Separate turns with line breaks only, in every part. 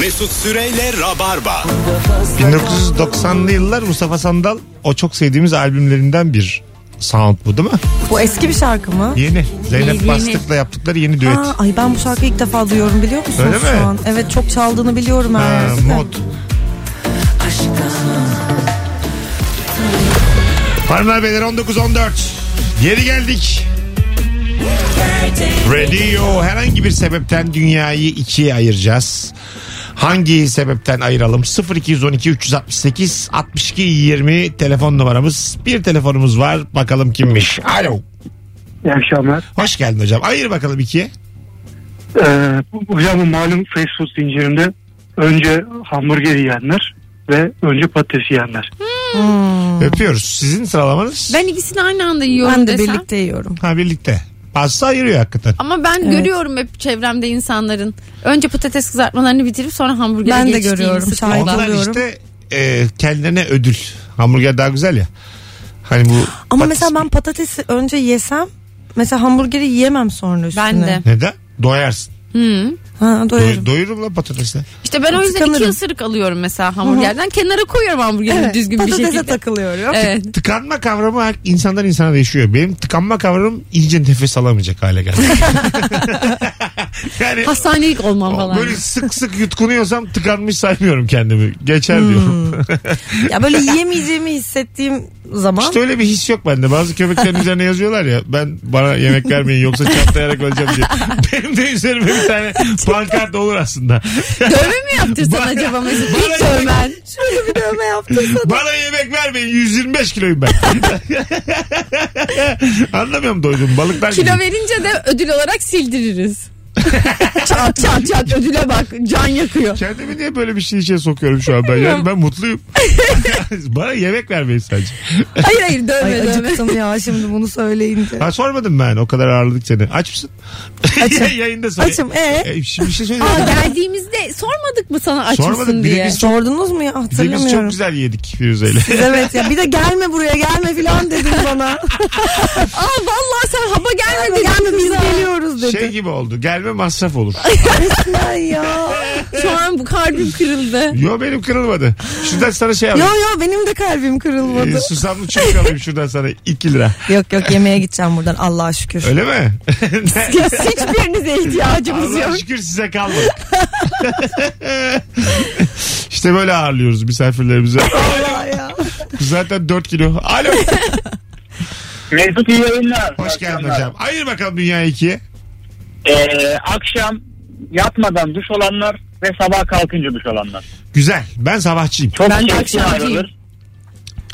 Mesut Süreyle Rabarba.
1990'lı yıllar Mustafa Sandal o çok sevdiğimiz albümlerinden bir sound bu değil mi?
Bu eski bir şarkı mı?
Yeni. Zeynep
Yeni.
Bastık'la yaptıkları yeni düet.
Aa, ay ben bu şarkıyı ilk defa duyuyorum biliyor musunuz
Öyle
şu
mi?
an? Evet çok çaldığını biliyorum
Ha,
her yerde.
Ee, mod. Hanımlar beyler 19.14. Geri geldik. Radio herhangi bir sebepten dünyayı ikiye ayıracağız. Hangi sebepten ayıralım? 0212 368 62 20 telefon numaramız. Bir telefonumuz var. Bakalım kimmiş? Alo.
İyi akşamlar.
Hoş geldin hocam. Ayır bakalım ikiye.
Ee, bu- hocam bu malum fast food zincirinde önce hamburger yiyenler ve önce patates yiyenler.
Öpüyoruz. Sizin sıralamanız.
Ben ikisini aynı anda yiyorum
Ben de
desem.
birlikte yiyorum.
Ha birlikte. Pasta ayırıyor hakikaten.
Ama ben görüyorum hep çevremde insanların. Önce patates kızartmalarını bitirip sonra hamburgere
Ben de
geçtiğini
görüyorum,
sıklıkla.
şahit
Onlar
Ayrılıyorum.
işte e, kendilerine ödül. Hamburger daha güzel ya. Hani bu
Ama
patates-
mesela ben patatesi önce yesem mesela hamburgeri yiyemem sonra üstüne.
Ben de.
Neden? Doyarsın.
Ha,
Doy,
doyarım.
doyurum lan patatesle.
İşte ben o yüzden iki
Tıkanırım.
ısırık alıyorum mesela hamburgerden. Kenara koyuyorum hamburgeri
Evet,
düzgün bir
patatese
şekilde.
takılıyorum.
Evet.
Tıkanma kavramı her- insandan insana değişiyor. Benim tıkanma kavramım iyice nefes alamayacak hale geldi. yani
Hastanelik olmam falan.
böyle sık sık yutkunuyorsam tıkanmış saymıyorum kendimi. Geçer diyorum.
Ya böyle yiyemeyeceğimi hissettiğim zaman
işte öyle bir his yok bende. Bazı köpeklerin üzerine yazıyorlar ya ben bana yemek vermeyin yoksa çatlayarak öleceğim diye. Benim de üzerime bir tane pankart olur aslında.
Dövme mi yaptırsan
Bana-
acaba Mesut?
bana
İlk dövmen.
şöyle bir dövme yaptırsa
Bana yemek vermeyin 125 kiloyum ben. Anlamıyorum doydum balıklar gibi.
Kilo verince de ödül olarak sildiririz. çat çat çat ödüle bak can yakıyor.
Kendimi niye böyle bir şey içe sokuyorum şu an ben? Yani ben mutluyum. Bana yemek vermeyin sadece.
Hayır hayır dövme
Ay
dövme.
acıktım ya şimdi bunu söyleyince.
Ha sormadım ben o kadar ağırladık seni. Aç mısın?
Açım.
Yayında söyle.
Açım ee?
E, şimdi bir şey
Aa,
söyleyeceğim.
geldiğimizde sormadık mı sana aç
Sormadık,
mısın
biri
diye.
biz-
Sordunuz mu
Bir
ya
de biz çok
hatırlamıyorum.
güzel yedik Firuze'yle.
Evet ya bir de gelme buraya gelme filan dedin bana.
Aa vallahi sen haba gelmedi.
gelme biz geliyoruz dedi.
şey gibi oldu. Gelme masraf olur.
Ay ya.
Şu an bu kalbim kırıldı.
Yo benim kırılmadı. Şuradan sana şey
Yo
alayım.
yo benim de kalbim kırılmadı.
Ee, susamlı çubuk alayım şuradan sana 2 lira.
Yok yok yemeğe gideceğim buradan Allah'a şükür.
Öyle mi?
Hiç- Hiçbirinize ihtiyacımız yok.
Allah şükür size kalmadık. işte böyle ağırlıyoruz misafirlerimizi.
Allah ya.
Zaten 4 kilo. Alo.
Mesut iyi yayınlar.
Hoş geldin hocam. Ayır bakalım dünya ikiye.
Ee, akşam yatmadan duş olanlar ve sabah kalkınca duş olanlar.
Güzel. Ben sabahçıyım.
Çok şey
Ben de
çirkin
akşamcıyım.
ayrılır.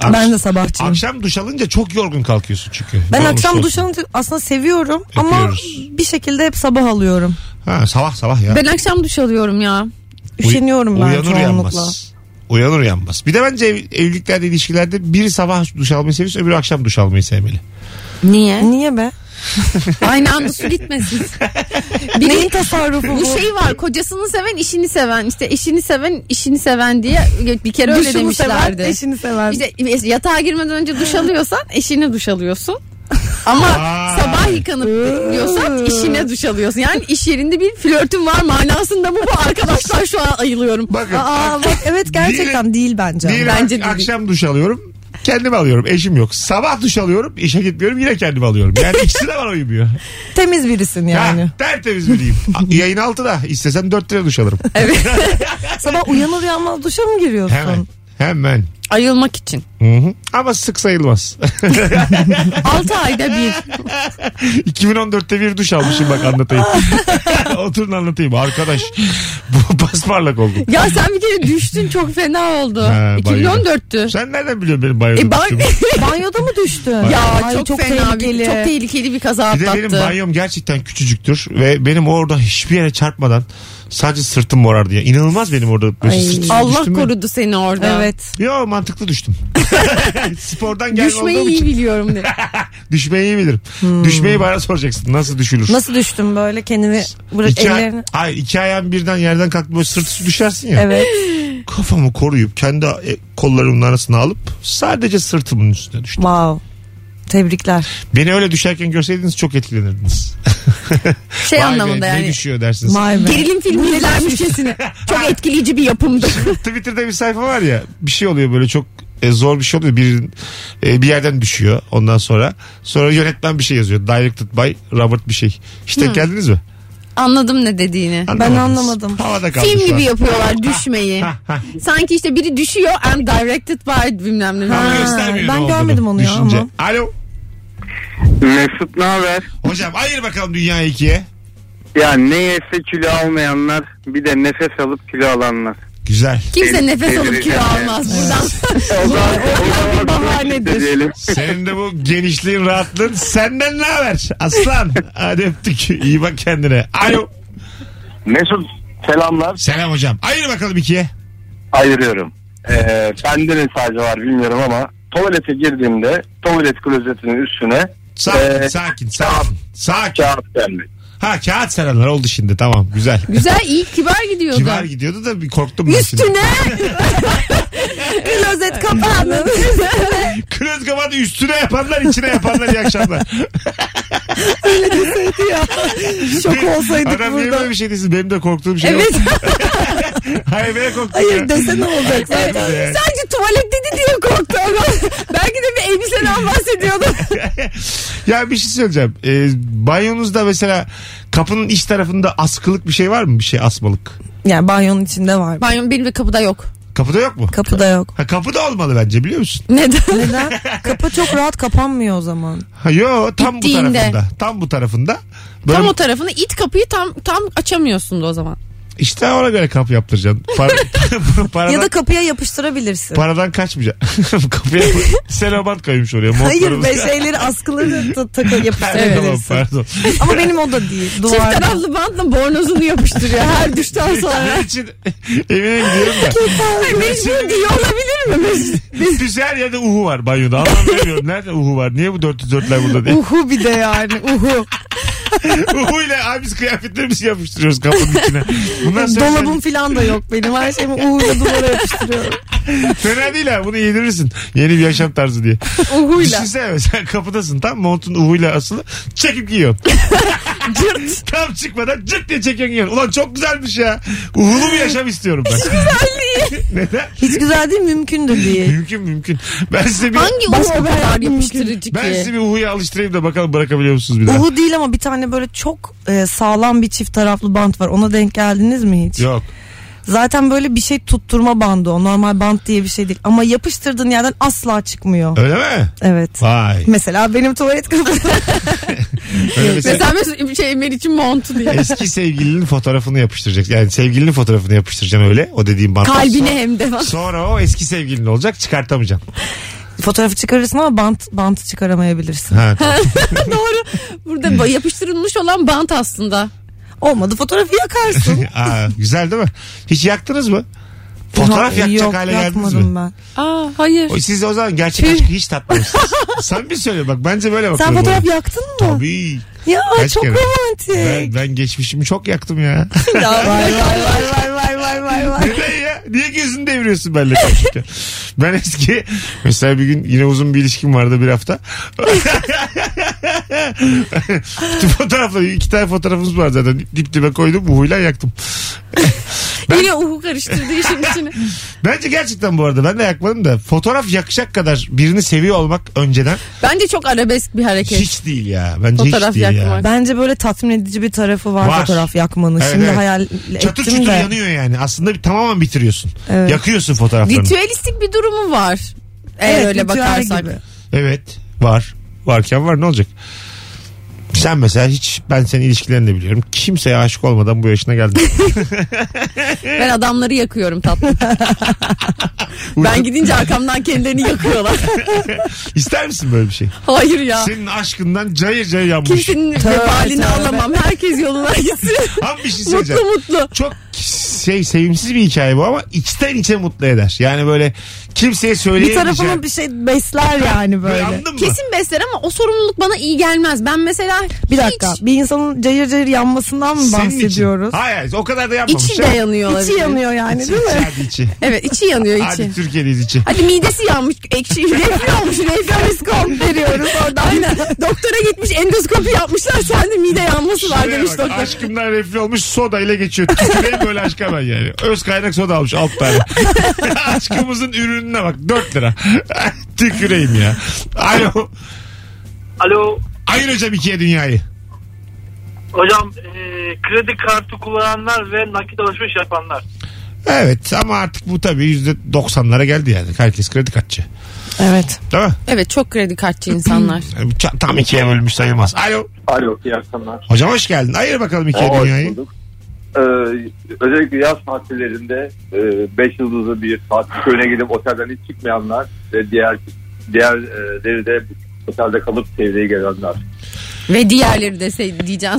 Ak-
Ben de sabahçıyım.
Akşam duş alınca çok yorgun kalkıyorsun çünkü.
Ben
Ne
akşam
olursa
duş
olsun.
alınca aslında seviyorum ama
Öpüyoruz.
bir şekilde hep sabah alıyorum.
Ha, sabah sabah ya.
Ben akşam duş alıyorum ya.
Uy-
Üşeniyorum ben
Uyanır
çoğunlukla.
uyanmaz. Uyanır uyanmaz. Bir de bence ev- evliliklerde ilişkilerde biri sabah duş almayı seviyorsa öbürü akşam duş almayı sevmeli.
Niye?
Niye be?
Aynı anda su gitmesin.
Neyin
Biri,
tasarrufu bu?
bu şey var kocasını seven işini seven işte eşini seven işini seven diye bir kere öyle
Duşunu seven,
demişlerdi.
eşini seven.
İşte yatağa girmeden önce duş alıyorsan eşine duş alıyorsun. Ama
Aa.
sabah yıkanıp diyorsan işine duş alıyorsun. Yani iş yerinde bir flörtün var manasında mı bu arkadaşlar şu an ayılıyorum.
Bakın.
Aa bak evet gerçekten değil bence.
Diyelim
Bence
ak-
de değil.
akşam duş alıyorum. Kendim alıyorum. Eşim yok. Sabah duş alıyorum. işe gitmiyorum. Yine kendim alıyorum. Yani ikisi de bana uymuyor.
Temiz birisin yani.
Ha, tertemiz biriyim. A- Yayın altıda. İstesem dört lira duş alırım.
Sabah uyanır uyanmaz duşa mı giriyorsun?
Hemen. Hemen.
Ayılmak için.
Hı-hı. Ama sık sayılmaz.
6 ayda bir.
2014'te bir duş almışım bak anlatayım. Oturun anlatayım arkadaş. Bu basparlak oldum.
Ya sen bir kere düştün çok fena oldu.
Ha, bayıldım.
2014'tü.
Sen nereden biliyorsun benim banyoda
E, ban-
düştüğümü?
Banyoda mı düştün?
ya
Ay,
çok, fena bir, çok tehlikeli bir kaza
Bir de benim
atlattı.
banyom gerçekten küçücüktür ve benim orada hiçbir yere çarpmadan sadece sırtım morardı ya. İnanılmaz benim orada böyle
Ay.
sırt-
Allah
düştüm ya.
korudu seni orada.
Evet.
Yo mantıklı düştüm. Spordan gelme
Düşmeyi
olduğum
iyi
için.
biliyorum diye.
Düşmeyi iyi bilirim. Düşmeyi bana soracaksın. Nasıl düşülür?
Nasıl düştün böyle kendini bırak
İki, ay-
ellerini?
Hayır, iki ayağım birden yerden kalktı böyle sırt üstü düşersin ya.
Evet.
kafamı koruyup kendi e, kollarımın arasına alıp sadece sırtımın üstüne düştüm.
Wow. Tebrikler.
Beni öyle düşerken görseydiniz çok etkilenirdiniz.
Şey
Vay be, Ne
anlamında yani.
düşüyor dersiniz.
Gerilim filmlermişçesine. Çok etkileyici bir yapımdı.
Twitter'da bir sayfa var ya bir şey oluyor böyle çok e, zor bir şey oluyor. Bir, e, bir yerden düşüyor ondan sonra. Sonra yönetmen bir şey yazıyor. Directed by Robert bir şey. İşte geldiniz mi?
Anladım ne dediğini.
Anlamadınız.
anlamadım.
Havada kaldı
Film
şu an.
gibi yapıyorlar düşmeyi. Sanki işte biri düşüyor and directed by bilmem ne.
Ama
Ha,
göstermiyor
ben
ne olduğunu
görmedim onu ya
düşünce.
ama.
Alo.
Mesut ne haber?
Hocam ayır bakalım dünya ikiye.
Ya ne yese kilo almayanlar bir de nefes alıp kilo alanlar.
Güzel.
Kimse
Benim
nefes alıp kilo
delireceğim ya.
almaz buradan.
O zaman, o zaman
bahanedir.
diyelim.
Senin de bu genişliğin rahatlığın senden ne haber? Aslan. Hadi öptük. İyi bak kendine. Alo.
Mesut selamlar.
Selam hocam. Ayır bakalım ikiye.
Ayırıyorum. Ee, bende ne sadece var bilmiyorum ama tuvalete girdiğimde tuvalet klozetinin üstüne
Sakin,
Ee,
sakin, sakin. Sakin.
kağıt gelmiş.
Ha kağıt serenler oldu şimdi tamam güzel.
Güzel iyi kibar gidiyordu.
Kibar gidiyordu da bir korktum ben şimdi.
Üstüne
Klozet kapandı.
Klöz kapadı üstüne yapanlar içine yapanlar iyi akşamlar.
Şok olsaydık
Adam niye
burada.
böyle bir şey desin benim de korktuğum şey
evet.
yok. Hayır ben korktum. ya.
Hayır dese ne olacak zaten.
Evet.
Sadece tuvalet dedi diye korktu ama belki de bir elbiseden bahsediyordu.
ya bir şey söyleyeceğim. Ee, banyonuzda mesela kapının iç tarafında askılık bir şey var mı? Bir şey asmalık.
Yani banyonun içinde var.
Banyo benim de kapıda yok.
Kapıda yok mu?
Kapıda yok.
Ha, kapıda olmalı bence biliyor musun?
Neden?
Neden? Kapı çok rahat kapanmıyor o zaman.
Ha, yo tam bu
Gittiğinde.
tarafında. Tam bu tarafında. Böyle,
Tam o tarafını it kapıyı tam tam açamıyorsun da o zaman.
İşte ona göre kapı yaptıracaksın. Para, paradan,
Ya da kapıya yapıştırabilirsin.
paradan kaçmayacaksın. Kapıya selobant koymuş oraya.
Hayır
montlarımız.
be şey- şeyleri askıları da takı
Ha, tamam,
yapıştırabilirsin.
pardon.
Ama benim o da değil.
Çift
Duvar.
taraflı bantla bornozunu yapıştırıyor her düşten sonra.
Ne için evine gidiyorum da.
Mecbur diye olabilir mi? Mesut?
Düz her yerde uhu var banyoda. Anlam vermiyorum. Nerede uhu var? Niye bu 404'ler burada diye.
Uhu bir de yani uhu.
uhu ile abi biz kıyafetlerimizi yapıştırıyoruz kapının içine. Bundan sonra sen-
Dolabım falan da yok benim. Her şeyimi uğurla duvara yapıştırıyorum.
fena değil ha. Bunu yedirirsin. Yeni bir yaşam tarzı diye.
Uhuyla.
Düşünsene mesela kapıdasın tam montun uhuyla asılı. Çekip giyiyorsun.
Cırt.
Tam çıkmadan cırt diye çekiyorsun giyiyorsun. Ulan çok güzelmiş ya. Uhulu bir yaşam istiyorum ben. Neden?
Hiç güzel değil mümkün de değil.
Mümkün mümkün. Ben size bir...
Hangi uhu o kadar yapıştırıcı
Ben
ki?
sizi bir uhuya alıştırayım da bakalım bırakabiliyor musunuz bir daha?
Uhu değil ama bir tane böyle çok e, sağlam bir çift taraflı bant var. Ona denk geldiniz mi hiç?
Yok.
Zaten böyle bir şey tutturma bandı o. Normal bant diye bir şey değil. Ama yapıştırdığın yerden asla çıkmıyor.
Öyle mi?
Evet.
Vay.
Mesela benim tuvalet kapısı.
Öyle mesela-
Mesela Mesut şey Meriç'in montu diye.
Eski sevgilinin fotoğrafını yapıştıracaksın. Yani sevgilinin fotoğrafını yapıştıracaksın öyle. O dediğim bantla.
Kalbine
Sonra-
hem de.
Sonra o eski sevgilin olacak çıkartamayacaksın.
Fotoğrafı çıkarırsın ama bant bantı çıkaramayabilirsin.
Ha, tamam.
Doğru. Burada yapıştırılmış olan bant aslında.
Olmadı fotoğrafı yakarsın.
Aa, güzel değil mi? Hiç yaktınız mı? Fotoğraf yakacak
Yok,
hale geldiniz
yakmadım
mi?
ben.
Aa hayır.
O, siz o zaman gerçek aşkı hiç tatmamışsınız. Sen bir söyle bak bence böyle
Sen
bakıyorum.
fotoğraf yaktın mı?
Tabii.
Ya
Kaç
çok
kere? Ben,
romantik.
ben geçmişimi çok yaktım ya.
Ya, vay vay vay vay vay vay vay vay.
Neden ya? Niye gözünü deviriyorsun benimle konuşurken? ben eski mesela bir gün yine uzun bir ilişkim vardı bir hafta. Bütün fotoğrafları iki tane fotoğrafımız var zaten. Dip dibe koydum bu huyla yaktım.
Yine uhu karıştırdı işin içine.
Bence gerçekten bu arada ben de yakmadım da fotoğraf yakışacak kadar birini seviyor olmak önceden
Bence çok arabesk bir hareket.
hiç değil ya. Bence
Fotoğraf
hiç değil ya.
yakmak.
Bence böyle tatmin edici bir tarafı var,
Var.
fotoğraf yakmanın.
Evet,
Şimdi
evet.
hayal
Çatır
ettim
çutur
de.
yanıyor yani. Aslında bir- tamamen bitiriyorsun.
Evet.
Yakıyorsun fotoğraflarını.
Ritüelistik bir durumu var. Eğer
Evet,
öyle
ritüel
bakarsak.
gibi.
Evet var. Varken var ne olacak? Sen mesela hiç ben senin ilişkilerini de biliyorum. Kimseye aşık olmadan bu yaşına geldin.
Ben adamları yakıyorum tatlım. ben gidince arkamdan kendilerini yakıyorlar.
İster misin böyle bir şey?
Hayır
Ah.
ya.
Senin aşkından cayır cayır yanmış.
Kimsenin vebalini alamam. Herkes yoluna gitsin.
Ama bir şey söyleyeceğim.
mutlu mutlu.
Çok şey sevimsiz bir hikaye bu ama içten içe mutlu eder. Yani böyle Kimseye
Bir
söyleyemeyeceğim.
tarafımı bir şey besler yani böyle.
Anladın mı?
Kesin besler ama o sorumluluk bana iyi gelmez. Ben mesela
Bir dakika
hiç
bir insanın cayır cayır yanmasından mı
Senin için.
bahsediyoruz?
Hayır hayır, o kadar da yapmamış.
içi de
ya.
yanıyor olabilir.
İçi yanıyor yani değil mi?
İçi, hadi içi.
Evet içi yanıyor içi.
Hadi Türkiye'deyiz içi.
Hadi midesi yanmış. Ekşi reflü olmuş. Reflü riskon veriyoruz oradan. Aynen. Doktora gitmiş endoskopi yapmışlar. Sende mide yanması var
Şuraya
demiş
bak,
doktor.
Aşkımdan refli olmuş soda ile geçiyor. Tüküreyim böyle aşka ben yani. Öz kaynak soda almış alt tane. Aşkımızın ürününe bak 4 lira. Tüküreyim ya. Alo.
Alo
Ayır hocam ikiye dünyayı.
hocam e, kredi kartı kullananlar ve nakit alışveriş yapanlar.
Evet ama artık bu tabii %90'lara geldi yani. Herkes kredi kartçı.
Evet.
Değil mi?
Evet çok kredi kartçı insanlar.
Yani bu ça- Tam ikiye bölmüş sayılmaz. Alo.
Alo iyi akşamlar.
Hocam hoş geldin. Ayır bakalım ikiye
Aa, hoş
dünyayı.
bulduk. Ee, özellikle yaz tatillerinde 5 yıldızlı bir tatil köyüne gidip otelden hiç çıkmayanlar ve diğer diğerleri de otelde kalıp çevreye gelenler.
Ve diğerleri de diyeceksin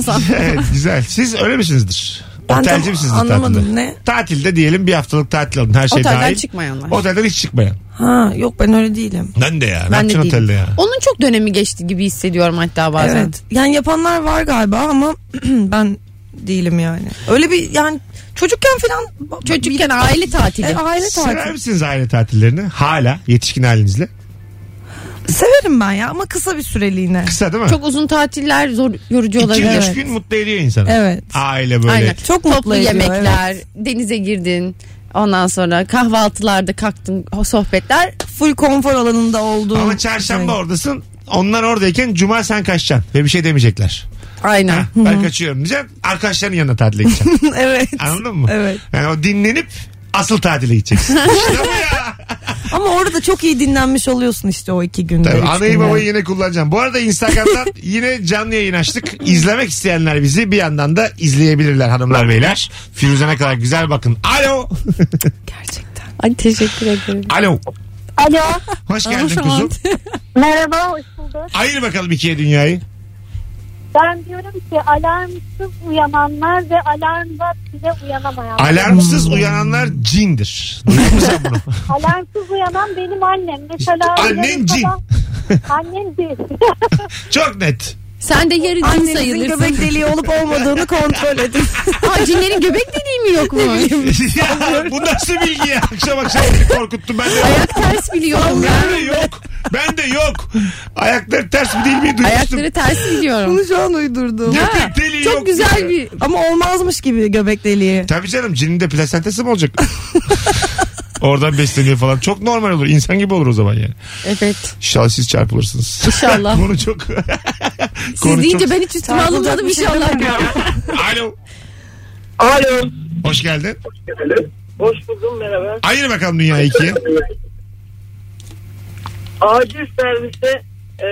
sen.
Evet güzel. Siz öyle misinizdir?
Ben
Otelci
tam
misiniz
anlamadım,
tatilde?
ne?
Tatilde diyelim bir haftalık tatil alın. Her şey
Otelden
dahil.
çıkmayanlar.
Otelden hiç çıkmayan.
Ha yok ben öyle değilim.
Ben de ya. Ben
Ben
ne
de
yapacaksın
değilim.
otelde ya?
Onun çok dönemi geçti gibi hissediyorum hatta bazen.
Evet. Yani yapanlar var galiba ama ben değilim yani. Öyle bir yani çocukken falan
Çocukken aile tatili.
E, aile
Sever
tatili.
misiniz aile tatillerini? Hala yetişkin halinizle.
Severim ben ya ama kısa bir süreliğine.
Kısa değil mi?
Çok uzun tatiller zor yorucu
İki,
olabilir.
üç
evet.
gün mutlu ediyor insanı.
Evet.
Aile böyle.
Aynen.
Çok
Toplu
mutlu ediyor,
yemekler, denize girdin. Ondan sonra kahvaltılarda kalktın o sohbetler.
Full konfor alanında olduğum.
Ama çarşamba
şey.
oradasın. Onlar oradayken cuma sen kaçacaksın. Ve bir şey demeyecekler.
Aynen.
Ben kaçıyorum diyeceksin. Arkadaşların yanına tatile gideceksin.
evet.
Anladın mı?
Evet.
Yani o dinlenip asıl tatile gideceksin. işte bu ya.
Ama orada çok iyi dinlenmiş oluyorsun işte o iki günde.
Tabii,
üç
anayı
günde.
babayı yine kullanacağım. Bu arada Instagram'dan yine canlı yayın açtık. İzlemek isteyenler bizi bir yandan da izleyebilirler hanımlar beyler. Firuze ne kadar güzel bakın. Alo.
Gerçekten.
Ay teşekkür ederim.
Alo.
Alo.
Hoş geldin
Aman.
kuzum.
Merhaba hoş bulduk.
Ayır bakalım ikiye dünyayı.
Ben diyorum ki alarmsız uyananlar ve alarmla bile uyanamayanlar.
Alarmsız uyananlar cindir. Duydun mu sen bunu?
Alarmsız uyanan benim annem. Mesela
İşte annen
yarın
cin.
sabah- Annem cin.
Çok net.
Sen de yarı cin
Annenizin
sayılırsın.
göbek deliği olup olmadığını kontrol edin.
Aa, cinlerin göbek deliği mi yok mu?
ya, bu nasıl bilgi ya? Akşam akşam beni korkuttun. Ben de yok.
Ayak ters biliyorum ya.
Ben de yok. Ben de yok. Ayakları ters mi değil mi duymuştum.
Ayakları ters biliyorum.
Bunu şu an uydurdum.
Göbek deliği
Çok
yok
güzel
ya.
bir...
Ama olmazmış gibi göbek deliği.
Tabii canım cinin de plasentası mı olacak? Oradan besleniyor falan. Çok normal olur. İnsan gibi olur o zaman yani.
Evet.
İnşallah siz çarpılırsınız.
İnşallah.
Konu çok...
Siz
Konu
deyince
çok-
ben hiç üstüme
Çarpılacak
alınmadım
bir şey
inşallah.
Alo.
Alo.
Hoş geldin.
Hoş buldum merhaba.
Ayır bakalım dünyayı ikiye.
Acil servise e,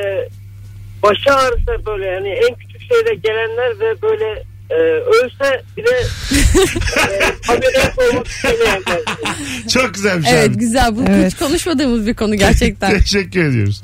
başı ağrısa böyle yani en küçük şeyle gelenler ve böyle e, ölse bile e, ameliyat olmak istemeyenler.
Çok şey. güzelmiş
Evet
abi.
güzel. Bu
Evet.
hiç konuşmadığımız bir konu gerçekten.
Teşekkür ediyoruz.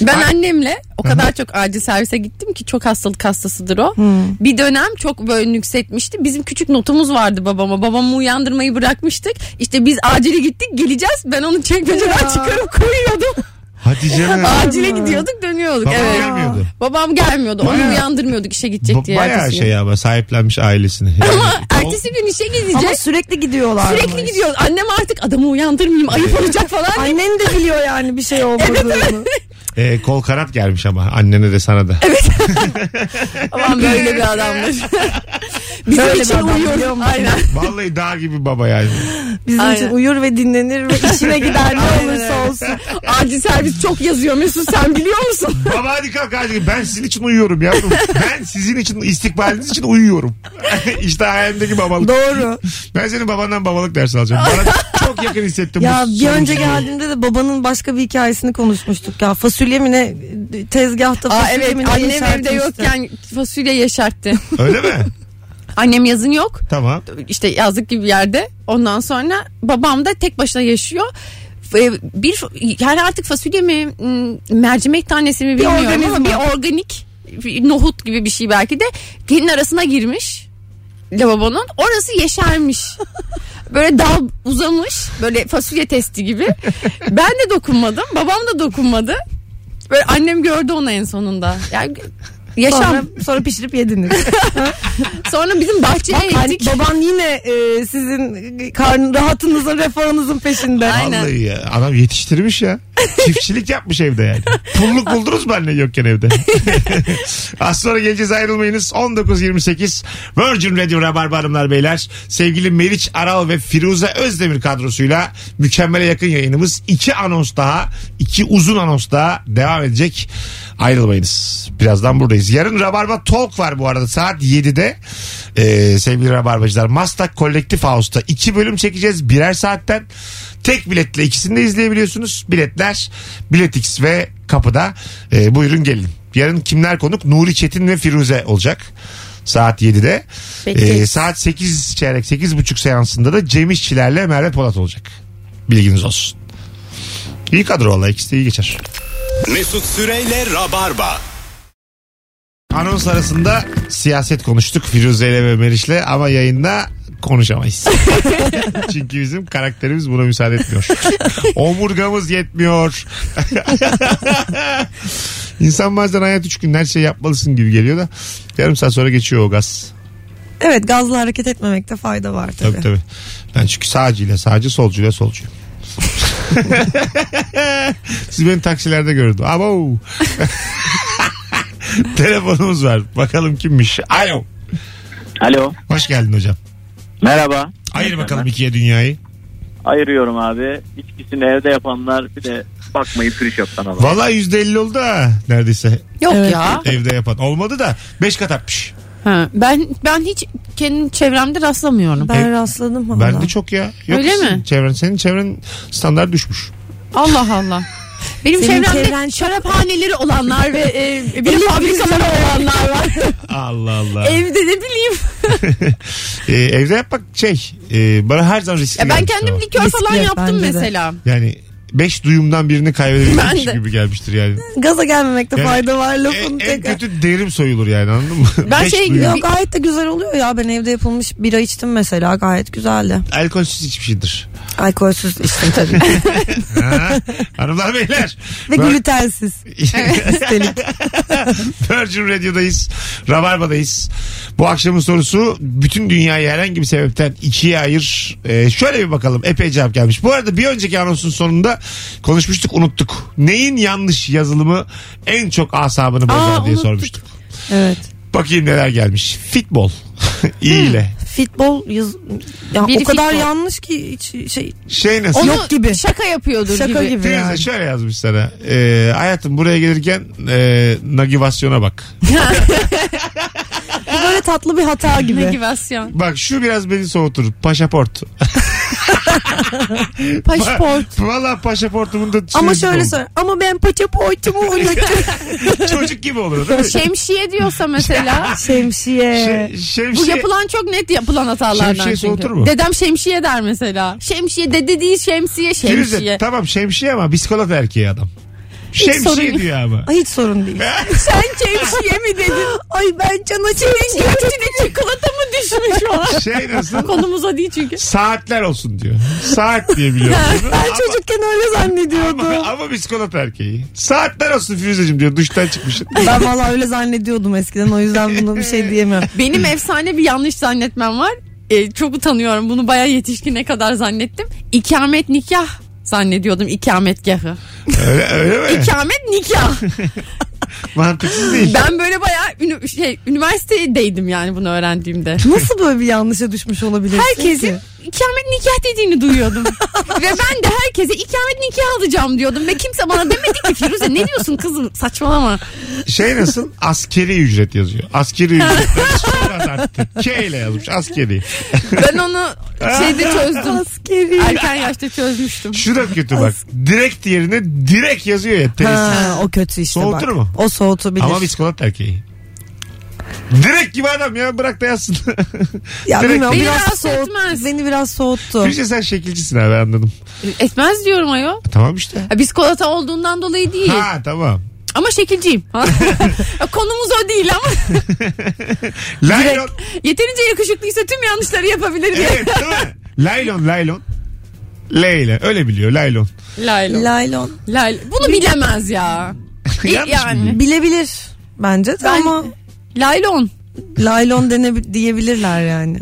Ben
Ay-
annemle o kadar çok acil servise gittim ki çok hastalık hastasıdır o. Bir dönem çok böyle nüksetmişti. Bizim küçük notumuz vardı babama. Babamı uyandırmayı bırakmıştık. İşte biz acile gittik geleceğiz. Ben onu çekmeceden çıkarıp koyuyordum.
Hatice mi?
acile gidiyorduk dönüyorduk.
Babam
evet.
gelmiyordu.
Babam gelmiyordu.
Bayağı-
Onu uyandırmıyorduk işe gidecek
Bu
diye.
bayağı
ertesi gün.
şey ama sahiplenmiş ailesini. Yani
Ama
o-
ertesi gün işe
Ama
gidecek.
sürekli gidiyorlar.
Sürekli gidiyor. Annem artık adamı uyandırmayayım ayıp olacak falan.
Annen de biliyor yani bir şey olmadığını.
e, kol kanat gelmiş ama annene de sana da.
Babam böyle bir adamdır. Bizim
Böyle bir
için
adam,
uyuyor.
biliyor musun?
Aynen.
Vallahi dağ gibi baba yani.
Bizim için
Aynen.
uyur ve dinlenir ve işine gider ne olursa olsun.
Acil servis çok yazıyor Mesut sen biliyor musun?
Baba hadi kalk hadi. Ben sizin için uyuyorum yavrum. ben sizin için istikbaliniz için uyuyorum. işte hayalimdeki babalık.
Doğru.
Ben senin babandan babalık dersi alacağım. Bana çok yakın hissettim.
Ya
bu
bir
sorumluluğu.
önce geldiğimde de babanın başka bir hikayesini konuşmuştuk ya. Fasulye mi ne tezgahta
Aa
fasulye
evet
mi ne
annem evde
yeşertmişti.
yokken fasulye yeşertti.
Öyle mi?
annem yazın yok
Tamam.
işte yazlık gibi bir yerde. Ondan sonra babam da tek başına yaşıyor. Ee, Bir yani artık fasulye mi m, mercimek tanesi mi bilmiyorum ama
organizma.
bir organik bir nohut gibi bir şey belki de gelin arasına girmiş lavabonun orası yeşermiş. böyle dal uzamış böyle fasulye testi gibi. ben de dokunmadım babam da dokunmadı. Böyle annem gördü onu en sonunda. Yani yaşam.
Sonra,
Sonra,
sonra pişirip yediniz.
bizim bahçeye
Yani
gittik.
baban yine e, sizin karn rahatınızın refahınızın peşinde.
Aynen.
Vallahi ya. Adam yetiştirmiş ya. Çiftçilik yapmış evde yani. Pulluk buldunuz mu anne yokken evde? Az sonra geleceğiz ayrılmayınız. 19.28 Virgin Radio Rabarba Hanımlar Beyler. Sevgili Meriç Aral ve Firuze Özdemir kadrosuyla mükemmele yakın yayınımız. iki anons daha, iki uzun anons daha devam edecek. Ayrılmayınız. Birazdan buradayız. Yarın Rabarba Talk var bu arada saat 7'de. Ee, sevgili Rabarbacılar Mastak Kolektif House'ta iki bölüm çekeceğiz birer saatten. Tek biletle ikisini de izleyebiliyorsunuz. Biletler Biletix ve kapıda. Ee, buyurun gelin. Yarın kimler konuk? Nuri Çetin ve Firuze olacak. Saat 7'de. Ee, saat 8 çeyrek 8.30 seansında da Cem İşçilerle Merve Polat olacak. Bilginiz olsun. İyi kadro valla ikisi de iyi geçer.
Mesut Süreyle Rabarba.
Anons arasında siyaset konuştuk Firuze ile ve Meriç'le ama yayında konuşamayız. Çünkü bizim karakterimiz buna müsaade etmiyor. Omurgamız yetmiyor. İnsan bazen hayat üç gün her şey yapmalısın gibi geliyor da yarım saat sonra geçiyor o gaz.
Evet gazla hareket etmemekte fayda var tabii.
Tabii tabii. Ben çünkü sağcıyla sağcı solcuyla solcuyum. Siz beni taksilerde gördüm. Abo. Telefonumuz var. Bakalım kimmiş. Alo.
Alo.
Hoş geldin hocam.
Merhaba.
Ayır bakalım ikiye dünyayı.
Ayırıyorum abi. İçkisini evde yapanlar bir de bakmayı friş yaptan alan.
Valla yüzde elli oldu ha neredeyse.
Yok
Evet.
ya.
Evde yapan. Olmadı da beş kat artmış.
Ha, ben ben hiç kendi çevremde rastlamıyorum.
Ben
E,
rastladım valla.
Ben de çok ya. Yok
Öyle
senin
mi?
Çevren, senin çevren standart düşmüş.
Allah Allah. Benim
Senin
çevremde
çevren-
şaraphaneleri olanlar ve e, bir fabrikaları olanlar var.
Allah Allah.
Evde ne bileyim.
E, evde yapmak şey e, bana her zaman riskli
Ya ben
gelmiştir ama.
kendim likör
Riskli,
falan yaptım
bence de.
mesela.
Yani beş duyumdan birini
Ben
kaybedebilirmiş
de.
gibi gelmiştir yani.
Gaza gelmemekte
Yani
fayda var
E, en
lafını tekrar.
kötü derim soyulur yani anladın mı?
Ben
Beş
şey-
duyum.
Ya gayet de güzel oluyor ya ben evde yapılmış bira içtim mesela gayet güzeldi.
Alkolsüz hiçbir şeydir.
Alkolsüz içtim tabii.
Ha? Hanımlar beyler.
Ve
Ben-
glutensiz. Üstelik.
Virgin Radio'dayız. Rabarba'dayız. Bu akşamın sorusu bütün dünyayı herhangi bir sebepten ikiye ayır. Ee, şöyle bir bakalım. Epey cevap gelmiş. Bu arada bir önceki anonsun sonunda konuşmuştuk unuttuk. Neyin yanlış yazılımı en çok asabını bozar diye
unuttuk.
sormuştuk.
Evet.
Bakayım neler gelmiş. Fitbol. İyi ile.
Fitbol yaz... Ya
Biri
o kadar
fitbol.
yanlış ki hiç şey
Şey nasıl?
Onu
Yok gibi.
Şaka yapıyordur
şaka gibi,
gibi.
Teyze
yani.
şöyle yazmış sana. Ee, hayatım buraya gelirken e, navigasyona bak.
Bu böyle tatlı bir hata gibi.
Motivasyon.
Bak şu biraz beni soğutur. Paşaport.
Paşaport.
Valla paşaportumun da
Ama
süresi
şöyle
doldu.
söyle. Ama ben paçaportumu unuttum.
Çocuk gibi olur değil mi?
Şey, Şemsiye diyorsa mesela.
Şey-
Şemsiye.
Şe-
e, Bu
şemsiye.
yapılan çok net yapılan hatalardan
Şemsiye
çünkü.
soğutur mu?
Dedem şemsiye der mesela. Şemsiye dede değil şemsiye
Firuze,
şey şemsiye.
tamam şemsiye ama bisiklet erkeği adam.
sorun
Şemsiye
yok.
diyor ama.
Ay, hiç sorun değil.
Sen şemsiye mi dedin?
Ay ben cana
Senin göğsüne çikolata mı düşmüş o?
Şey nasıl?
Konumuz o değil çünkü.
Saatler olsun diyor. Saat diye biliyorum. bunu.
Ben çocukken öyle
ama,
zannediyordum.
ama bisiklet erkeği. Saatler olsun Firuzeciğim diyor. Duştan çıkmışsın.
Ben valla öyle zannediyordum eskiden o yüzden buna bir şey diyemem.
Benim efsane bir yanlış zannetmem var. E, çok utanıyorum. Bunu bayağı yetişkine kadar zannettim. İkamet nikah zannediyordum ikametgahı.
Öyle, öyle mi?
İkamet nikah.
Mantıksız değil.
Ben böyle bayağı ünü- şey, üniversitedeydim yani bunu öğrendiğimde.
Nasıl böyle bir yanlışa düşmüş olabilirsin
Herkesin
ki?
ikamet nikah dediğini duyuyordum. Ve ben de herkese ikamet nikah alacağım diyordum. Ve kimse bana demedi ki Firuze ne diyorsun kızım saçmalama.
Şey nasıl? Askeri ücret yazıyor. Askeri ücret. Biraz arttı. K ile yazmış. Askeri.
Ben onu şeyde çözdüm.
Askeri.
Erken yaşta çözmüştüm.
Şu da kötü bak. Direkt yerine direkt yazıyor ya. Tesis.
Ha, o kötü işte
Soğutur
bak.
mu?
O soğutabilir.
Ama bisiklet erkeği. Direkt gibi adam ya bırak da yazsın.
ya
direkt-
bilmiyorum
Beni
biraz
rahatsız
soğut,
etmez.
beni biraz soğuttu.
Bir şey sen şekilcisin abi anladım.
Etmez diyorum ayol.
Tamam işte.
Ha, Biz kolata olduğundan dolayı değil.
Ha tamam.
Ama şekilciyim. Konumuz o değil ama
Laylon.
yeterince yakışıklıysa tüm yanlışları yapabilir diye.
Evet değil mi? Laylon laylon. Leyle öyle biliyor laylon.
Laylon.
Laylon.
Lay- Bunu bilemez ya.
Yanlış
yani.
mı biliyor?
Bilebilir bence de
Ben-
ama
Laylon.
laylon dene diyebilirler yani.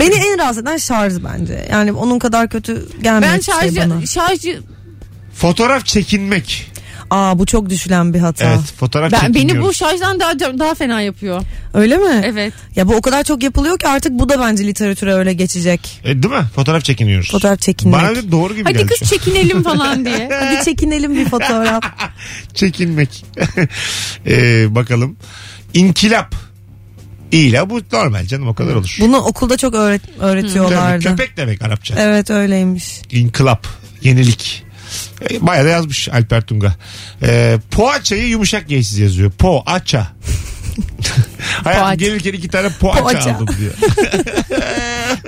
Beni en rahatsız eden şarj bence. Yani onun kadar kötü gelmiyor
Ben
hiçbir şey
şarjı,
bana.
şarjı
Fotoğraf çekinmek.
Aa bu çok düşülen bir hata.
Evet fotoğraf
ben, beni bu
çekiniyoruz.
şarjdan daha daha fena yapıyor.
Öyle mi?
Evet.
Ya bu o kadar çok yapılıyor ki artık bu da bence literatüre öyle geçecek.
E, değil mi? Fotoğraf çekiniyoruz.
Fotoğraf çekinmek.
Bana da doğru gibi
Hadi
geldi.
kız
şu an.
çekinelim falan diye.
Hadi çekinelim bir fotoğraf.
Çekinmek. E, bakalım. İnkilap. İyla bu normal canım o kadar olur.
Bunu okulda çok öğret-
Tabii,
öğretiyorlardı.
köpek demek Arapça.
Evet öyleymiş.
İnkılap. Yenilik. E, Bayağı da yazmış Alper Tunga. E, poğaçayı yumuşak yeysiz yazıyor. Poğaça. Hayatım
Poğaça.
gelirken iki tane poğaça,
Poğaça.
aldım diyor.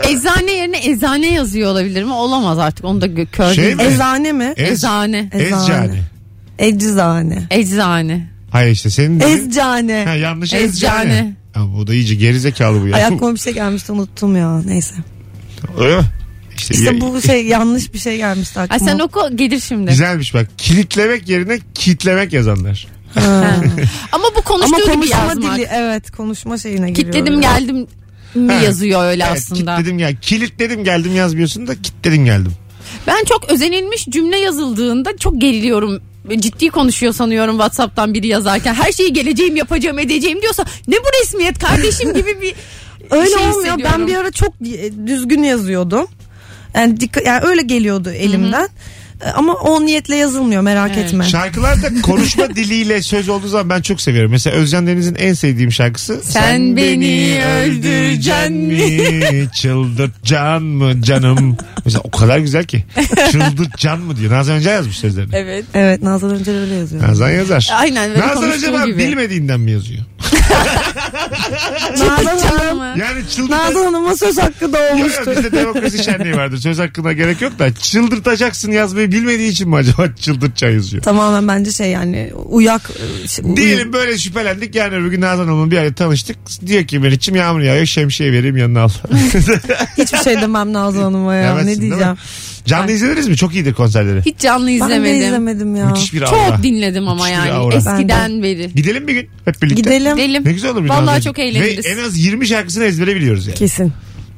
Eczane yerine ezane yazıyor olabilir mi? Olamaz artık. Onu da gö- kör
Şey
değil.
mi?
Ezane mi?
Ez-
Eczane.
Ezane.
Ezcane.
Eczane.
Eczane.
Hayır işte senin dediğin- Ha,
Ezcane.
yanlış
Ezcane.
ezcane. Ha, bu da iyice gerizekalı bu ya.
Ayaklıma bir şey gelmişti unuttum ya neyse.
Öyle mi? İşte,
İşte
ya-
bu şey yanlış bir şey gelmişti aklıma.
Ay sen oku gelir şimdi.
Güzelmiş bak. Kilitlemek yerine kitlemek yazanlar.
Ha. Ama bu
Ama
konuştuğu gibi
konuşma
yazmak.
dili evet konuşma şeyine giriyor.
Kitledim geldim mi
Ha.
yazıyor öyle
Evet,
aslında.
Kilitledim gel. Kilitledim geldim yazmıyorsun da kilitledim geldim.
Ben çok özenilmiş cümle yazıldığında çok geriliyorum. Ciddi konuşuyor sanıyorum Whatsapp'tan biri yazarken. Her şeyi geleceğim, yapacağım, edeceğim diyorsa ne bu resmiyet kardeşim gibi bir
Öyle
şey
olmuyor. Ben
hissediyorum.
bir ara çok e, düzgün yazıyordum. Yani, dikkat, yani öyle geliyordu elimden. E, Ama o niyetle yazılmıyor merak
Evet.
etme.
Şarkılarda konuşma diliyle söz olduğu zaman ben çok seviyorum. Mesela Özcan Deniz'in en sevdiğim şarkısı. Sen,
beni öldüreceksin
mi? Çıldırtacaksın mı canım? Mesela o kadar güzel ki. Çıldırtacaksın mı diyor. Nazan Önce yazmış sözlerini.
Evet.
Evet Nazan Önce öyle yazıyor.
Nazan yazar.
Aynen böyle
Nazan
konuştuğu
acaba
gibi.
bilmediğinden mi yazıyor?
Nazan, Hanım,
Canımı.
Yani çıldırtacaksın.
Nazan Hanım'a söz hakkı
Yok,
doğmuştu.
Bizde demokrasi şenliği vardır. Söz hakkına gerek yok da çıldırtacaksın yazmayı bilmediği için mi acaba çıldırtacaksın yazıyor?
Tamamen bence şey yani uyak. e, şey, uyu-
Diyelim böyle şüphelendik. Yani öbür gün Nazan Hanım'la bir yerde tanıştık. Diyor ki benim içim yağmur yağıyor. Şemsiye vereyim yanına al.
Hiçbir şey demem Nazan Hanım'a ya
Demezsin, değil
ne
mi?
diyeceğim.
Canlı izlediniz mi? Çok iyidir konserleri.
Hiç canlı
Ben de
izlemedim.
izlemedim ya.
Müthiş bir
Çok
aura.
dinledim ama
Hiçbir
yani
aura.
eskiden beri.
Gidelim bir gün hep birlikte.
Gidelim.
Gidelim.
Ne güzel olur. bir
Vallahi
Nazan.
çok eğleniriz.
Ve en az 20 şarkısını ezbere biliyoruz yani.
Kesin.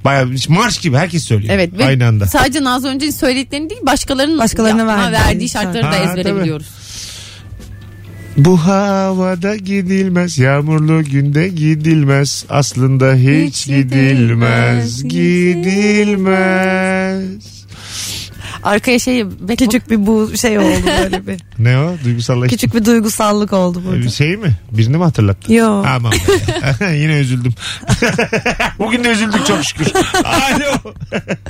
Bayağı marş gibi herkes söylüyor.
Evet. ve
Aynı anda.
Sadece Nazlı önce söylediklerini değil başkalarının
Başkalarına
yapma-
verdiği
verdiği
şarkı.
şartları da
Ha,
ezbere
tabii.
biliyoruz.
Bu havada gidilmez, yağmurlu günde gidilmez. Aslında hiç,
Hiç
gidilmez,
gidilmez,
gidilmez.
Arkaya şey Backbook-
Küçük bir bu şey oldu böyle bir.
Ne o? Duygusallaştı.
Küçük bir duygusallık oldu
Bir
burada.
şey mi? Birini mi hatırlattın?
Yo.
Aman be. Yine üzüldüm. Bugün de üzüldük çok şükür. Alo.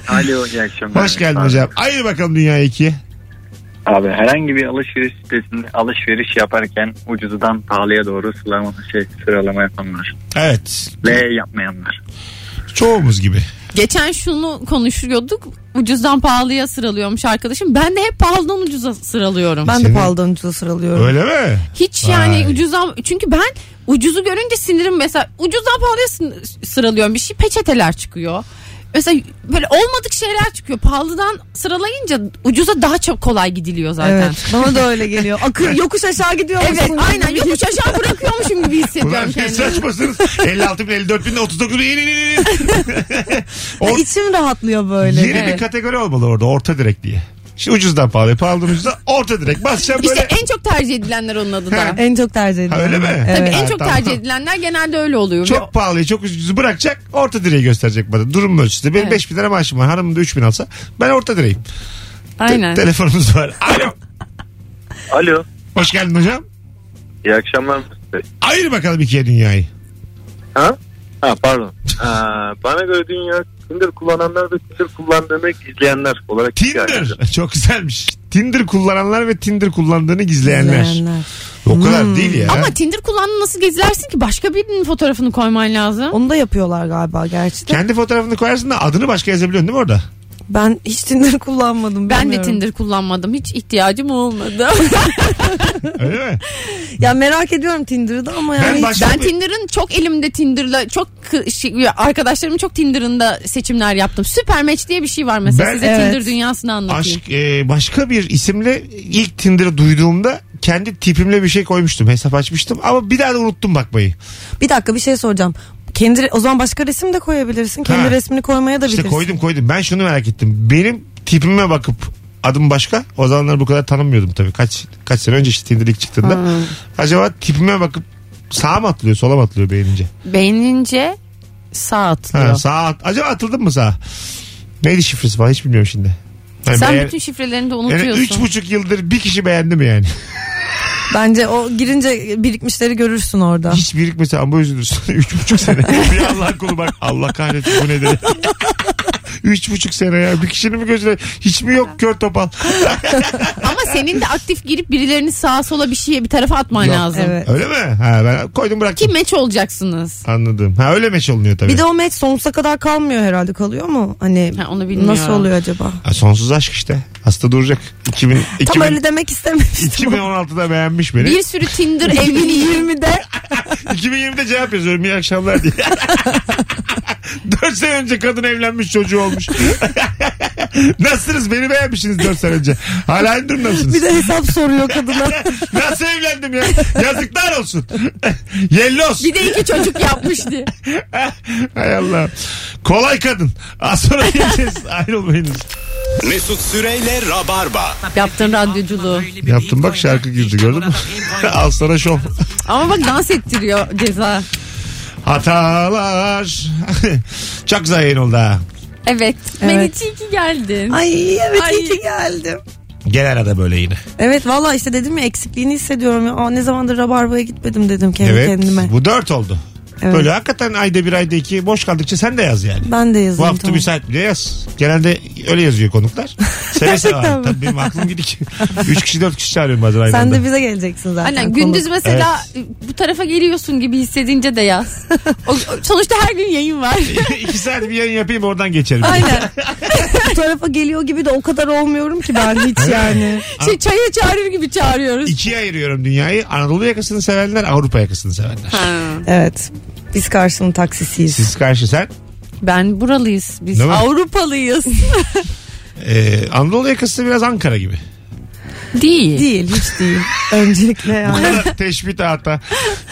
Alo iyi akşamlar.
Hoş geldin hocam. Haydi bakalım dünya ikiye.
Abi herhangi bir alışveriş sitesinde alışveriş yaparken ucuzdan pahalıya doğru sıralama, şey, sıralama yapanlar.
Evet.
Ve yapmayanlar.
Çoğumuz gibi.
Geçen şunu konuşuyorduk. Ucuzdan pahalıya sıralıyormuş arkadaşım. Ben de hep pahalıdan ucuza sıralıyorum.
Ben
Senin-
de pahalıdan ucuza sıralıyorum.
Öyle mi?
Hiç
Vay.
yani ucuzdan çünkü ben ucuzu görünce sinirim mesela ucuzdan pahalıya sın- sıralıyorum bir şey peçeteler çıkıyor. Mesela böyle olmadık şeyler çıkıyor. Pahalıdan sıralayınca ucuza daha çok kolay gidiliyor zaten.
Evet. Bana da öyle geliyor. Akın yokuş aşağı gidiyor
Evet aynen yokuş aşağı bırakıyormuşum gibi
Bunlar
hissediyorum
ne
kendimi.
saçmasınız? 56 bin, 54 bin, 39 bin. yeni, yeni, yeni. O-
İçim rahatlıyor böyle.
Yeni bir
Evet.
kategori olmalı orada orta direk diye. Şimdi ucuzdan pahalı, pahalıdan ucuza orta direk. Basacağım böyle.
İşte en çok tercih edilenler onun adı
Ha.
da.
En çok tercih
Ha,
ediyorum.
öyle mi?
Evet.
Tabii en
Ha,
çok
tamam.
tercih edilenler genelde öyle oluyor.
Çok pahalıyı çok ucuzu bırakacak orta direği gösterecek bana. Durum ölçüsü. Benim
Evet.
5 bin lira maaşım var. Hanımım da 3 bin alsa ben orta direğim. Te-
Aynen.
telefonumuz var. Alo.
Alo.
Hoş geldin hocam.
İyi akşamlar.
Ayır bakalım ikiye dünyayı.
Ha? Ha pardon. Aa, bana göre dünya Tinder kullananlar ve Tinder kullandığını izleyenler olarak ikiye
Tinder.
ayrılır.
Çok güzelmiş. Tinder kullananlar ve Tinder kullandığını gizleyenler.
İzleyenler.
O kadar değil ya.
Hmm. Ama Tinder kullandığını nasıl gezilersin ki? Başka birinin fotoğrafını koyman lazım.
Onu da yapıyorlar galiba gerçi de.
Kendi fotoğrafını koyarsın da adını başka yazabiliyorsun değil mi orada?
Ben hiç Tinder kullanmadım.
Ben de
bilmiyorum.
Tinder kullanmadım. Hiç ihtiyacım olmadı.
Öyle mi?
Ya merak ediyorum Tinder'ı da ama yani.
Ben
hiç-
başka
Ben
bir-
Tinder'ın çok elimde Tinder'la çok kı- şey- arkadaşlarım çok Tinder'ında seçimler yaptım. Süper Match diye bir şey var mesela.
Ben-
Size
Evet.
Tinder dünyasını anlatayım.
Aşk e, başka bir isimle ilk Tinder'ı duyduğumda kendi tipimle bir şey koymuştum. Hesap açmıştım ama bir daha da unuttum bakmayı.
Bir dakika bir şey soracağım. Kendi o zaman başka resim de koyabilirsin. Kendi
Ha.
resmini koymaya da
İşte
bilirsin.
koydum koydum. Ben şunu merak ettim. Benim tipime bakıp adım başka. O zamanlar bu kadar tanımıyordum tabii. Kaç kaç sene önce işte Tinder ilk çıktığında.
Hmm.
Acaba tipime bakıp sağa mı atılıyor sola mı atılıyor beğenince?
Beğenince sağ atlıyor.
Ha, sağa at- Acaba atıldın mı sağa? Neydi şifresi falan hiç bilmiyorum şimdi. Yani
Sen
beğen-
bütün şifrelerini de
yani
unutuyorsun.
üç buçuk yıldır bir kişi beğendi mi yani?
Bence o girince birikmişleri görürsün orada.
Ah.
Hiç birikmese ama üzülürsün. Üç buçuk sene. bir Allah kulu bak. Allah kahretsin bu ne dedi. Üç buçuk sene ya. Bir kişinin mi gözüne? Hiç mi yok kör topal?
Ama senin de aktif girip birilerini sağa sola bir şeye bir tarafa atman
Yok.
lazım.
Evet.
Öyle mi? Ha ben koydum
Ki
bıraktım.
meç olacaksınız.
Anladım. Ha öyle meç olunuyor tabii.
Bir de o match sonsuza kadar kalmıyor herhalde kalıyor mu? Hani
Ha, onu bilmiyorum.
nasıl oluyor acaba?
Ha, sonsuz aşk işte. Hasta duracak. 2000,
Tam
2000,
öyle demek istememiştim.
2016'da beğenmiş beni.
Bir sürü Tinder evliliği
2020'de
2020'de cevap yazıyorum. İyi akşamlar diye. 4 sene önce kadın evlenmiş çocuğu olmuş. Nasılsınız? Beni beğenmişsiniz 4 sene önce. Hala aynı durumda mısınız?
bir de hesap soruyor kadına.
Nasıl evlendim ya? Yazıklar olsun. Yellos.
bir de iki çocuk yapmıştı.
Hay Allah. Kolay kadın. Az sonra geleceğiz. Ayrılmayınız.
Mesut Süreyle Rabarba.
Yaptığın radyoculuğu.
Yaptım bak şarkı girdi gördün mü? Al sana şov.
Ama bak dans ettiriyor ceza.
Hatalar. Çok güzel yayın oldu ha.
Evet. Ben
Evet.
hiç iyi ki geldin.
Ay evet
Ay.
iyi ki geldim.
Gel arada böyle yine.
Evet valla işte dedim ya eksikliğini hissediyorum. Ya. Aa, ne zamandır rabarbaya gitmedim dedim kendi
Evet.
kendime.
Bu dört oldu.
Evet.
Böyle hakikaten ayda bir ayda iki boş kaldıkça sen de yaz yani.
Ben de yazayım.
Bu hafta
tamam.
müsait bile yaz. Genelde öyle yazıyor konuklar. Seve seve.
Gerçekten mi?
Tabii benim aklım gidik. Üç kişi dört kişi çağırıyorum bazen aynı
Sen
anda.
de bize geleceksin zaten.
Aynen
konu.
gündüz mesela bu tarafa geliyorsun gibi hissedince de yaz. O- o- sonuçta her gün yayın var.
İki saat bir yayın yapayım oradan geçerim.
Aynen. Bu tarafa geliyor gibi de o kadar olmuyorum ki ben hiç yani.
şey, çaya çağırır gibi çağırıyoruz.
İkiye ayırıyorum dünyayı. Anadolu yakasını sevenler, Avrupa yakasını sevenler.
Evet. Biz karşının taksisiyiz.
Siz karşı sen.
Ben buralıyız. Biz
Değil mi?
Avrupalıyız.
Ee, Anadolu yakası biraz Ankara gibi.
Değil.
Değil hiç değil. Öncelikle
Bu
yani.
kadar teşbih hatta.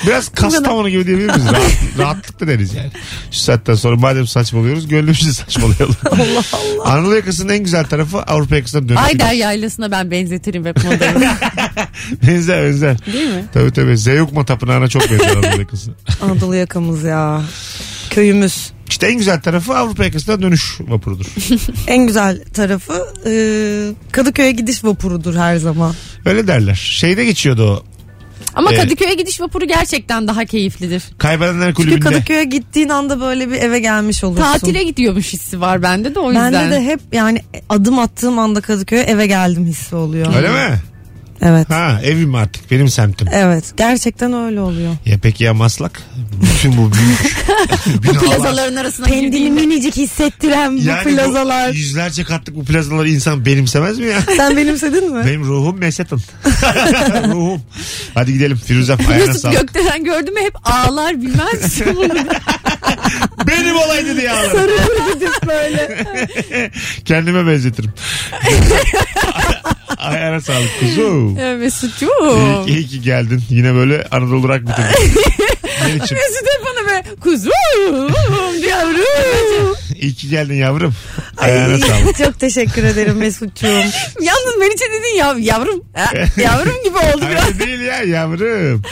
Biraz Kastamonu gibi diyebilir miyiz? Rahat, rahatlıkla deriz yani. Şu saatten sonra madem saçmalıyoruz gönlümüzü saçmalayalım. Allah Allah. Anadolu yakasının en güzel tarafı Avrupa yakasına dönüşü.
Ayder yaylasına ben benzetirim hep modelini.
Benzer benzer.
Değil mi?
Tabii tabii. Zeyukma Tapınağı'na çok benzer Anadolu yakası.
Anadolu yakamız ya. Köyümüz.
İşte en güzel tarafı Avrupa yakasına dönüş vapurudur.
En güzel tarafı e, Kadıköy'e gidiş vapurudur her zaman.
Öyle derler. Şeyde geçiyordu o.
Ama
Evet.
Kadıköy'e gidiş vapuru gerçekten daha keyiflidir.
Kaybedenler
Çünkü
kulübünde.
Kadıköy'e gittiğin anda böyle bir eve gelmiş olursun.
Tatile gidiyormuş hissi var bende de o yüzden.
Bende de hep yani adım attığım anda Kadıköy'e eve geldim hissi oluyor.
Öyle mi?
Evet.
Ha evim artık benim semtim.
Evet. Gerçekten öyle oluyor.
Ya peki ya Maslak? Bütün bu büyük binalar.
Plazaların arasına
Kendini
girdiğinde.
minicik hissettiren bu
Yani
plazalar.
bu yüzlerce katlık bu plazaları insan benimsemez mi ya?
Sen benimsedin mi?
Benim ruhum mesetın. ruhum. Hadi gidelim Firuzem ayağına
Yusuf
sağlık.
Gökdelen gördü mü hep ağlar bilmez misin bunu?
Benim olaydı diye ağlarım.
böyle.
Kendime benzetirim. ayağına sağlık kuzum.
Ya
İyi,
Mesut'cuğum.
ki- iyi ki geldin. Yine böyle Anadolu rak bitirdin. Meriç'im
Mesut hep bana be kuzum yavrum.
iyi ki geldin yavrum. Ayağına sağlık.
Çok teşekkür ederim Mesut'cuğum.
Yalnız Meriç'e dedin yav, yavrum. Ha, yavrum gibi oldu biraz.
Öyle değil ya yavrum.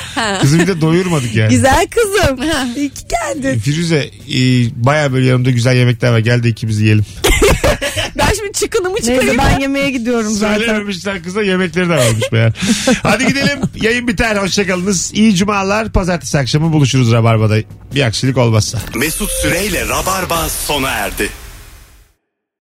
Kızı bir de doyurmadık yani.
Güzel kızım. İyi ki geldin.
Firuze e, baya böyle yanımda güzel yemekler var. Gel de ikimiz yiyelim.
Ben şimdi çıkınımı
Neyse
çıkarayım.
ben yemeğe gidiyorum zaten.
Söylememişler kıza yemekleri de varmış be. Hadi gidelim. Yayın biter. Hoşçakalınız. İyi cumalar. Pazartesi akşamı buluşuruz Rabarba'da. Bir aksilik olmazsa.
Mesut Süreyle Rabarba sona erdi.